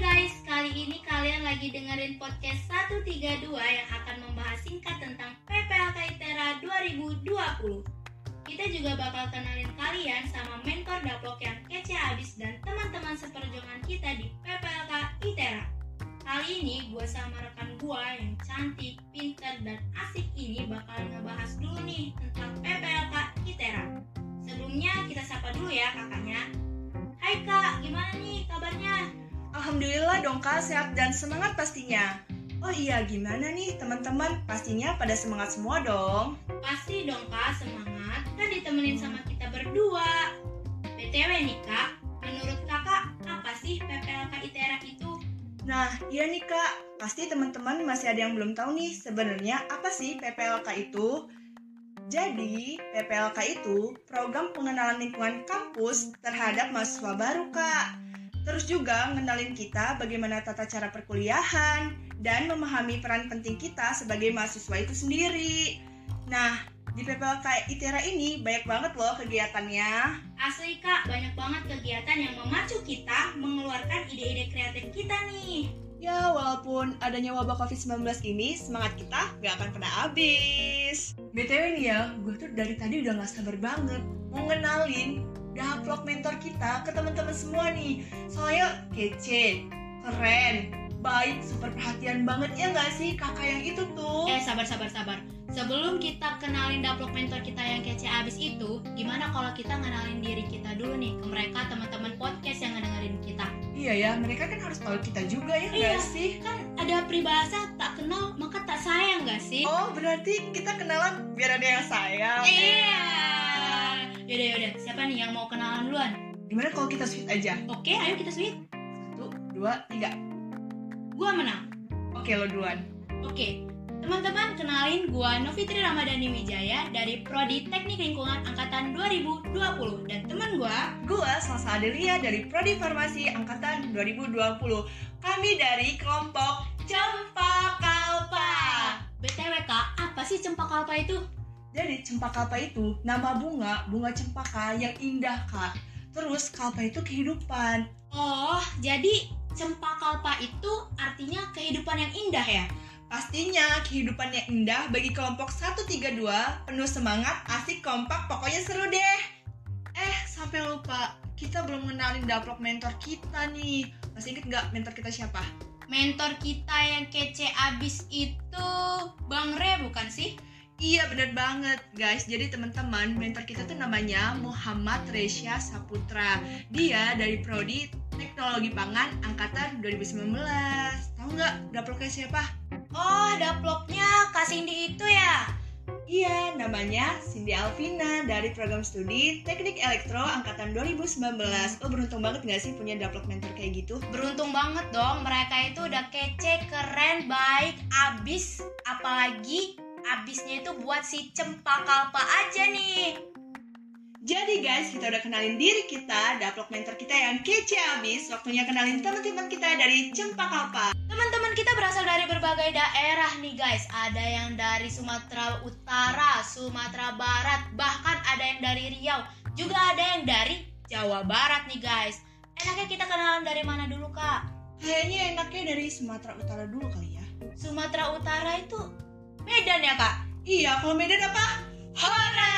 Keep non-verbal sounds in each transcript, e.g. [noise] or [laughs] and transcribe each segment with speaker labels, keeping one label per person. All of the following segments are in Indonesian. Speaker 1: Kali ini kalian lagi dengerin podcast 132 yang akan membahas singkat tentang PPLK ITERA 2020. Kita juga bakal kenalin kalian sama mentor Dapok yang kece abis dan teman-teman seperjuangan kita di PPLK ITERA. Kali ini gue sama rekan gue yang cantik, pinter, dan asik ini bakal ngebahas dulu nih tentang PPLK ITERA. Sebelumnya kita sapa dulu ya kakaknya. Hai kak, gimana nih kabarnya?
Speaker 2: Alhamdulillah dong kak, sehat dan semangat pastinya. Oh iya, gimana nih teman-teman? Pastinya pada semangat semua dong.
Speaker 1: Pasti dong kak semangat kan ditemenin sama kita berdua. BTW nih kak, menurut kakak apa sih PPLK ITERA itu?
Speaker 2: Nah, iya nih kak, pasti teman-teman masih ada yang belum tahu nih sebenarnya apa sih PPLK itu? Jadi, PPLK itu program pengenalan lingkungan kampus terhadap mahasiswa baru kak. Terus juga ngenalin kita bagaimana tata cara perkuliahan dan memahami peran penting kita sebagai mahasiswa itu sendiri. Nah, di PPLK ITERA ini banyak banget loh kegiatannya.
Speaker 1: Asli kak, banyak banget kegiatan yang memacu kita mengeluarkan ide-ide kreatif kita nih.
Speaker 2: Ya, walaupun adanya wabah COVID-19 ini, semangat kita nggak akan pernah habis. BTW nih ya, gue tuh dari tadi udah nggak sabar banget mau ngenalin daplok mentor kita ke teman-teman semua nih. Soalnya kece, keren, baik, super perhatian banget ya nggak sih kakak yang itu tuh?
Speaker 1: Eh sabar sabar sabar. Sebelum kita kenalin daplok mentor kita yang kece abis itu, gimana kalau kita kenalin diri kita dulu nih ke mereka teman-teman podcast yang ngedengerin kita.
Speaker 2: Iya ya, mereka kan harus tahu kita juga
Speaker 1: Iya.
Speaker 2: ya nggak sih?
Speaker 1: Kan ada peribahasa tak kenal maka tak sayang gak sih?
Speaker 2: Oh berarti kita kenalan biar ada yang sayang.
Speaker 1: Iya. Yaudah yaudah, siapa nih yang mau kenalan duluan?
Speaker 2: Gimana kalau kita sweet aja?
Speaker 1: Oke, ayo kita sweet.
Speaker 2: Satu, dua, tiga.
Speaker 1: Gua menang.
Speaker 2: Oke lo duluan.
Speaker 1: Oke. Teman-teman, kenalin gua Novitri Ramadhani Wijaya dari Prodi Teknik Lingkungan Angkatan 2020 dan teman gua
Speaker 2: Gua Salsa Adelia dari Prodi Farmasi Angkatan 2020. Kami dari kelompok Cempaka
Speaker 1: BTW Kak, apa sih cempaka apa itu?
Speaker 2: Jadi cempaka kalpa itu nama bunga, bunga cempaka yang indah kak. Terus kalpa itu kehidupan.
Speaker 1: Oh, jadi cempaka itu artinya kehidupan yang indah ya?
Speaker 2: Pastinya kehidupan yang indah bagi kelompok 132 penuh semangat, asik, kompak, pokoknya seru deh. Eh, sampai lupa, kita belum mengenalin daplok mentor kita nih. Masih inget nggak mentor kita siapa?
Speaker 1: Mentor kita yang kece abis itu Bang Re bukan sih?
Speaker 2: Iya bener banget guys Jadi teman-teman mentor kita tuh namanya Muhammad Resya Saputra Dia dari Prodi Teknologi Pangan Angkatan 2019 Tahu nggak daploknya siapa?
Speaker 1: Oh, daploknya Kak Cindy itu ya?
Speaker 2: Iya namanya Cindy Alvina dari program studi Teknik Elektro Angkatan 2019 Oh beruntung banget nggak sih punya daplok mentor kayak gitu?
Speaker 1: Beruntung banget dong mereka itu udah kece, keren, baik, abis apalagi abisnya itu buat si cempaka-kalpa aja nih.
Speaker 2: Jadi guys, kita udah kenalin diri kita, daplok mentor kita yang kece abis. Waktunya kenalin teman-teman kita dari Cempaka
Speaker 1: Teman-teman kita berasal dari berbagai daerah nih guys. Ada yang dari Sumatera Utara, Sumatera Barat, bahkan ada yang dari Riau, juga ada yang dari Jawa Barat nih guys. Enaknya kita kenalan dari mana dulu kak?
Speaker 2: Kayaknya enaknya dari Sumatera Utara dulu kali ya.
Speaker 1: Sumatera Utara itu Medan ya kak?
Speaker 2: Iya, kalau Medan apa?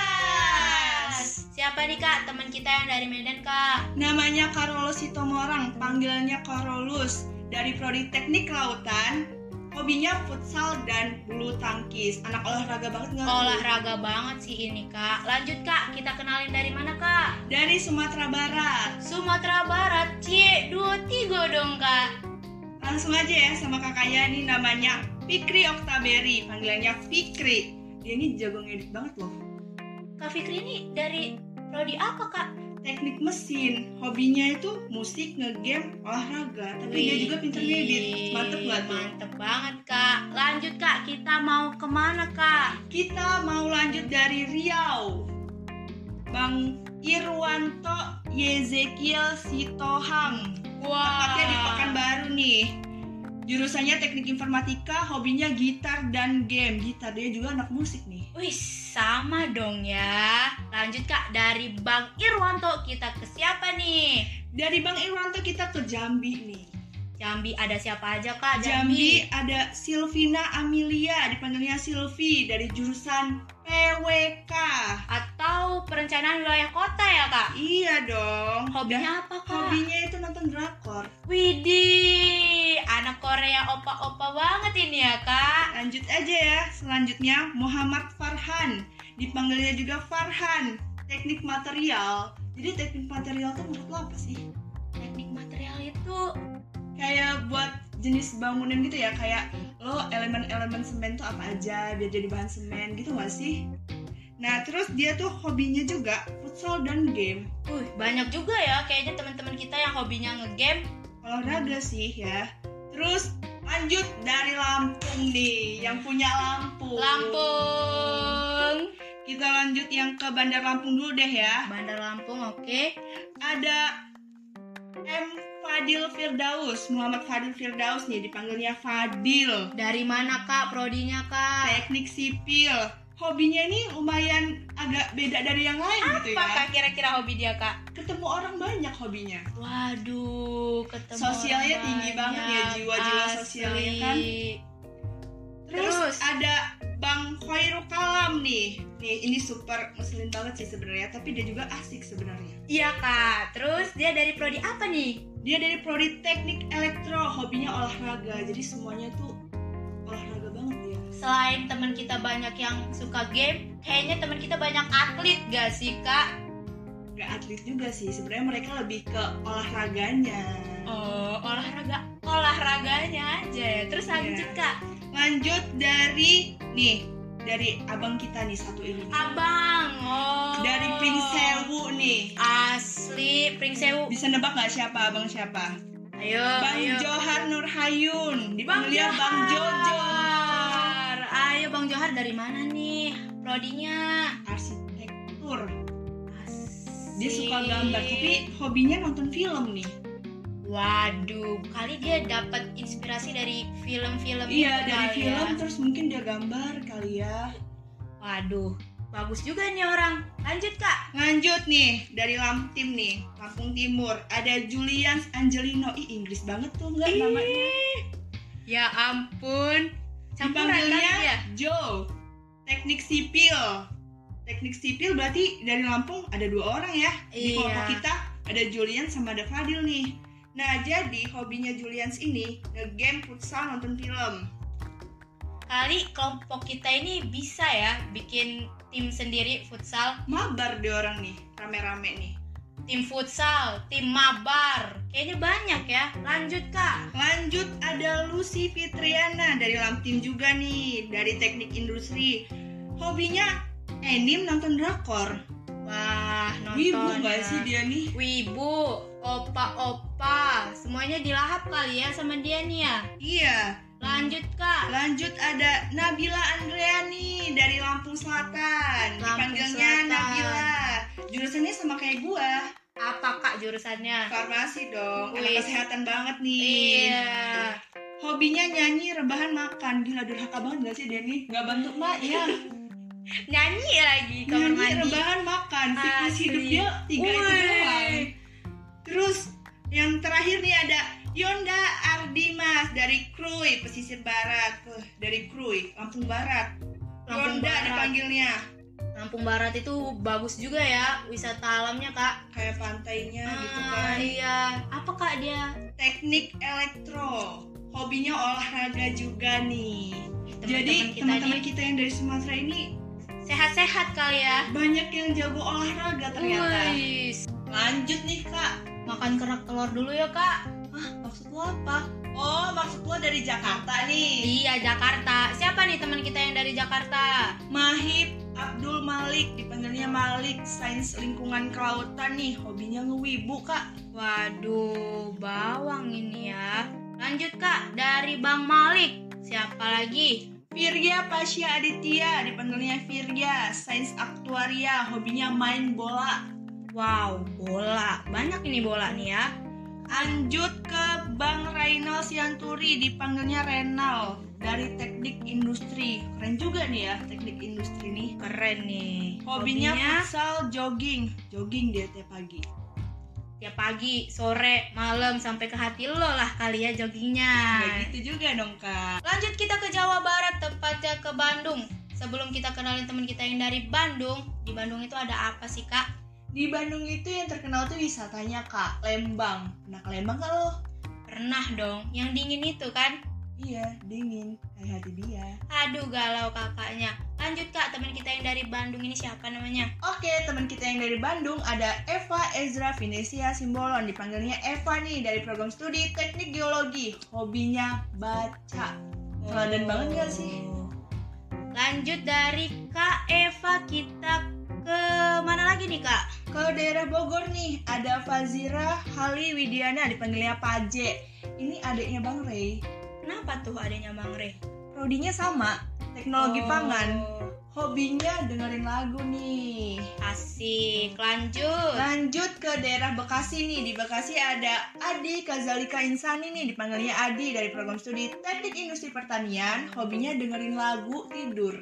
Speaker 2: Horas!
Speaker 1: Siapa nih kak teman kita yang dari Medan kak?
Speaker 2: Namanya Karolus Sitomorang, panggilannya Karolus. Dari Prodi Teknik Kelautan, hobinya futsal dan bulu tangkis. Anak olahraga banget nggak? lu?
Speaker 1: Olahraga banget sih ini kak Lanjut kak, kita kenalin dari mana kak?
Speaker 2: Dari Sumatera Barat.
Speaker 1: Sumatera Barat, C23 dong kak
Speaker 2: Langsung aja ya sama kakaknya ini namanya Fikri Oktaberi, panggilannya Fikri. Dia ini jago ngedit banget loh.
Speaker 1: Kak Fikri ini dari prodi apa kak?
Speaker 2: Teknik mesin, hobinya itu musik, ngegame, olahraga. Tapi dia juga pinter
Speaker 1: Wih,
Speaker 2: ngedit. Mantep nggak tuh?
Speaker 1: Mantep banget kak Lanjut kak, kita mau kemana kak?
Speaker 2: Kita mau lanjut dari Riau. Bang Irwanto Yezekiel Sitohang. Tepatnya di Pekanbaru nih. Jurusannya teknik informatika, hobinya gitar dan game. Gitar dia juga anak musik nih.
Speaker 1: Wih, sama dong ya Lanjut kak, dari Bang Irwanto kita ke siapa nih?
Speaker 2: Dari Bang Irwanto kita ke Jambi nih.
Speaker 1: Jambi ada siapa aja kak?
Speaker 2: Jambi ada Silvina Amelia dipanggilnya Silvi dari jurusan PWK.
Speaker 1: Atau perencanaan wilayah kota ya kak?
Speaker 2: Iya dong. Dan
Speaker 1: Hobinya apa kak?
Speaker 2: hobinya itu nonton drakor.
Speaker 1: Widih, anak Korea opa-opa banget ini ya kak.
Speaker 2: Lanjut aja ya. Selanjutnya Muhammad Farhan dipanggilnya juga Farhan. Teknik material. Jadi teknik material tuh menurut lo apa sih?
Speaker 1: Teknik material itu
Speaker 2: Kayak buat jenis bangunan gitu ya kayak lo elemen-elemen semen tuh apa aja biar jadi bahan semen gitu gak sih? Nah terus dia tuh hobinya juga futsal dan game.
Speaker 1: uh, banyak juga ya kayaknya teman-teman kita yang hobinya ngegame.
Speaker 2: olahraga sih ya. Terus lanjut dari Lampung nih, yang punya Lampung.
Speaker 1: Lampung.
Speaker 2: Kita lanjut yang ke Bandar Lampung dulu deh ya.
Speaker 1: Bandar Lampung, oke.
Speaker 2: Ada M Fadil Firdaus, Muhammad Fadil Firdaus nih dipanggilnya Fadil.
Speaker 1: Dari mana kak prodinya kak?
Speaker 2: Teknik sipil. Hobinya nih lumayan agak beda dari yang lain
Speaker 1: Apa
Speaker 2: gitu ya.
Speaker 1: kak kira-kira hobi dia kak?
Speaker 2: Ketemu orang banyak hobinya.
Speaker 1: Waduh, ketemu
Speaker 2: Sosialnya
Speaker 1: orang
Speaker 2: tinggi banget ya,
Speaker 1: banyak.
Speaker 2: jiwa-jiwa
Speaker 1: Asli.
Speaker 2: sosialnya kan. Terus,
Speaker 1: Terus?
Speaker 2: ada Bang Khairul Kalam nih. Nih, ini super muslim banget sih sebenarnya, tapi dia juga asik sebenarnya.
Speaker 1: Iya kak. Terus dia dari prodi apa nih?
Speaker 2: Dia dari prodi teknik elektro, hobinya olahraga. Jadi semuanya tuh olahraga banget dia.
Speaker 1: Selain teman kita banyak yang suka game, kayaknya teman kita banyak atlet gak sih kak?
Speaker 2: Gak atlet juga sih, sebenarnya mereka lebih ke olahraganya.
Speaker 1: Oh, olahraga olahraganya aja ya. Terus
Speaker 2: Iya.
Speaker 1: lanjut kak,
Speaker 2: Lanjut dari nih, dari abang kita nih satu ini.
Speaker 1: abang. Oh.
Speaker 2: Dari Pink Sewu nih.
Speaker 1: Asli Pring Sewu.
Speaker 2: Bisa nebak gak siapa abang siapa?
Speaker 1: Ayo,
Speaker 2: Bang
Speaker 1: ayo.
Speaker 2: Johar Nurhayun. Dipanggilnya Bang Jojo.
Speaker 1: Johar. Ayo Bang Johar dari mana nih? Prodinya.
Speaker 2: arsitektur.
Speaker 1: Asik.
Speaker 2: Dia suka gambar, tapi hobinya nonton film nih.
Speaker 1: Waduh, kali dia dapat inspirasi dari film-film
Speaker 2: iya,
Speaker 1: itu
Speaker 2: dari
Speaker 1: kali
Speaker 2: film
Speaker 1: ya.
Speaker 2: terus mungkin dia gambar kali ya.
Speaker 1: Waduh, bagus juga nih orang. Lanjut kak.
Speaker 2: Lanjut nih, dari Lamptim nih, Lampung Timur. Ada Julian Angelino. Ih, Inggris banget tuh enggak Iya, namanya.
Speaker 1: Ih, Ya ampun. Campuran
Speaker 2: Dipanggilnya
Speaker 1: kan ya.
Speaker 2: Joe. Teknik sipil. Teknik sipil berarti dari Lampung ada dua orang ya. Di kelompok
Speaker 1: Iya.
Speaker 2: kita ada Julian sama ada Fadil nih. Nah, jadi hobinya Julians ini nge-game futsal nonton film.
Speaker 1: Kali kelompok kita ini bisa ya bikin tim sendiri futsal,
Speaker 2: mabar deh orang nih rame-rame nih
Speaker 1: tim futsal, tim mabar. Kayaknya banyak ya. Lanjut kak.
Speaker 2: lanjut ada Lucy Fitriana dari Lamptim juga nih dari teknik industri hobinya anime nonton drakor
Speaker 1: Wah, nonton.
Speaker 2: ibu gak sih dia nih
Speaker 1: Wibu, opa-opa, semuanya dilahap kali ya sama dia nih ya.
Speaker 2: iya
Speaker 1: Lanjut kak.
Speaker 2: lanjut ada Nabila Andreani dari Lampung Selatan
Speaker 1: Lampung
Speaker 2: dipanggilnya
Speaker 1: Selatan.
Speaker 2: Nabila jurusannya sama kayak gua
Speaker 1: Apa kak jurusannya?
Speaker 2: farmasi dong
Speaker 1: Wih.
Speaker 2: anak kesehatan banget nih
Speaker 1: Iya.
Speaker 2: hobinya nyanyi rebahan makan gila durhaka banget gak sih dia nih gak bantu mak
Speaker 1: [laughs]
Speaker 2: ya
Speaker 1: Nyanyi lagi kamar
Speaker 2: Nyanyi,
Speaker 1: mandi.
Speaker 2: rebahan, makan, siklus
Speaker 1: Asli.
Speaker 2: hidup dia tiga itu
Speaker 1: Wih.
Speaker 2: doang. Terus yang terakhir nih ada Yonda Ardimas dari Krui, pesisir barat, Wah, dari Krui, Lampung Barat.
Speaker 1: Lampung
Speaker 2: Yonda
Speaker 1: Barat.
Speaker 2: dipanggilnya,
Speaker 1: Lampung Barat itu bagus juga ya wisata alamnya kak.
Speaker 2: kayak pantainya gitu
Speaker 1: Ah,
Speaker 2: kan.
Speaker 1: iya. Apa kak dia?
Speaker 2: Teknik elektro, hobinya olahraga juga nih.
Speaker 1: Teman-teman
Speaker 2: Jadi
Speaker 1: kita
Speaker 2: teman-teman
Speaker 1: nih
Speaker 2: kita yang dari Sumatera ini
Speaker 1: sehat-sehat kali ya.
Speaker 2: banyak yang jago olahraga ternyata.
Speaker 1: Wih,
Speaker 2: Lanjut nih kak,
Speaker 1: makan kerak telur dulu ya kak.
Speaker 2: Maksud lo apa? Oh, maksud lo dari Jakarta nih.
Speaker 1: Iya Jakarta. Siapa nih teman kita yang dari Jakarta?
Speaker 2: Mahib Abdul Malik, dipanggilnya Malik, sains lingkungan kelautan nih, hobinya ngewibu kak.
Speaker 1: Waduh, bawang ini ya. Lanjut kak, dari Bang Malik. Siapa lagi?
Speaker 2: Virgia Pasya Aditya, dipanggilnya Virgia, sains aktuaria, hobinya main bola.
Speaker 1: Wow, bola. Banyak ini bola nih ya.
Speaker 2: Lanjut ke Bang Rainal Sianturi, dipanggilnya Renal, dari teknik industri. Keren juga nih ya, teknik industri nih.
Speaker 1: Keren nih.
Speaker 2: Hobinya futsal jogging, jogging dia tiap pagi.
Speaker 1: Tiap Ya pagi, sore, malam, sampai ke hati lo lah kali ya joggingnya.
Speaker 2: Ya gitu juga dong kak.
Speaker 1: Lanjut kita ke Jawa Barat, tepatnya ke Bandung. Sebelum kita kenalin teman kita yang dari Bandung, di Bandung itu ada apa sih kak?
Speaker 2: Di Bandung itu yang terkenal tuh wisatanya kak, Lembang. Nah ke Lembang kak lo?
Speaker 1: Pernah dong, yang dingin itu kan?
Speaker 2: Iya, dingin. Kayak hati dia.
Speaker 1: Aduh galau kakaknya. Lanjut kak, teman kita yang dari Bandung ini siapa namanya?
Speaker 2: Oke, teman kita yang dari Bandung ada Eva Ezra Venesia Simbolon. Dipanggilnya Eva nih dari program studi teknik geologi. Hobinya baca. Teladan banget gak sih?
Speaker 1: Lanjut dari Kak Eva kita ke mana lagi nih kak?
Speaker 2: Ke daerah Bogor nih ada Fazira Hali Widiana dipanggilnya Paje. Ini adiknya Bang Ray.
Speaker 1: Kenapa tuh adanya Bang Re?
Speaker 2: Prodinya sama,
Speaker 1: Oh.
Speaker 2: teknologi pangan. Hobinya dengerin lagu nih.
Speaker 1: Asik, lanjut.
Speaker 2: Lanjut ke daerah Bekasi nih. Di Bekasi ada Adi Kazalika Insani nih. Dipanggilnya Adi dari program studi Teknik Industri Pertanian. Hobinya dengerin lagu tidur.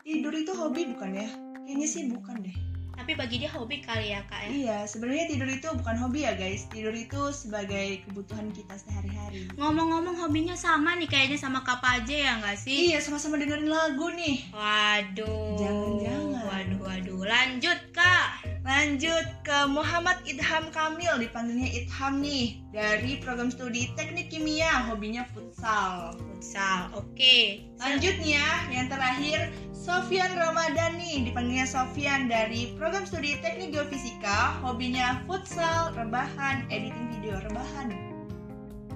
Speaker 2: Tidur itu hobi bukan ya? Kayaknya sih bukan deh.
Speaker 1: Tapi bagi dia hobi kali ya kak ya?
Speaker 2: Iya, sebenarnya tidur itu bukan hobi ya guys. Tidur itu sebagai kebutuhan kita sehari-hari.
Speaker 1: Ngomong-ngomong hobinya sama nih kayaknya sama Kak aja ya nggak sih?
Speaker 2: Iya, sama-sama dengerin lagu nih.
Speaker 1: Waduh.
Speaker 2: Jangan-jangan.
Speaker 1: Waduh, waduh. Lanjut kak.
Speaker 2: Lanjut ke Muhammad Idham Kamil, dipanggilnya Idham nih, dari program studi Teknik Kimia, hobinya futsal.
Speaker 1: Futsal, oke.
Speaker 2: Lanjutnya, yang terakhir, Sofian Ramadan nih, dipanggilnya Sofian dari program studi Teknik Geofisika, hobinya futsal, rebahan, editing video rebahan.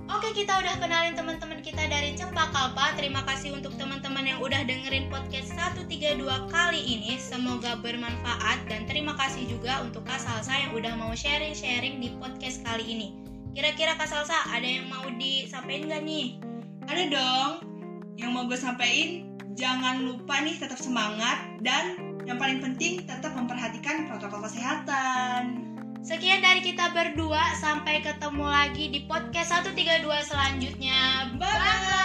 Speaker 1: Oke, kita udah kenalin teman-teman kita dari Cempaka Terima kasih untuk teman-teman yang udah dengerin podcast 132 kali ini. Semoga bermanfaat dan terima kasih juga untuk Kak Salsa yang udah mau sharing-sharing di podcast kali ini. Kira-kira Kak Salsa ada yang mau disampaikan nggak nih?
Speaker 2: Ada dong, yang mau gue sampein, jangan lupa nih tetap semangat, dan yang paling penting tetap memperhatikan protokol kesehatan.
Speaker 1: Sekian dari kita berdua. Sampai ketemu lagi di podcast 132 selanjutnya. Bye.
Speaker 2: Bye-bye.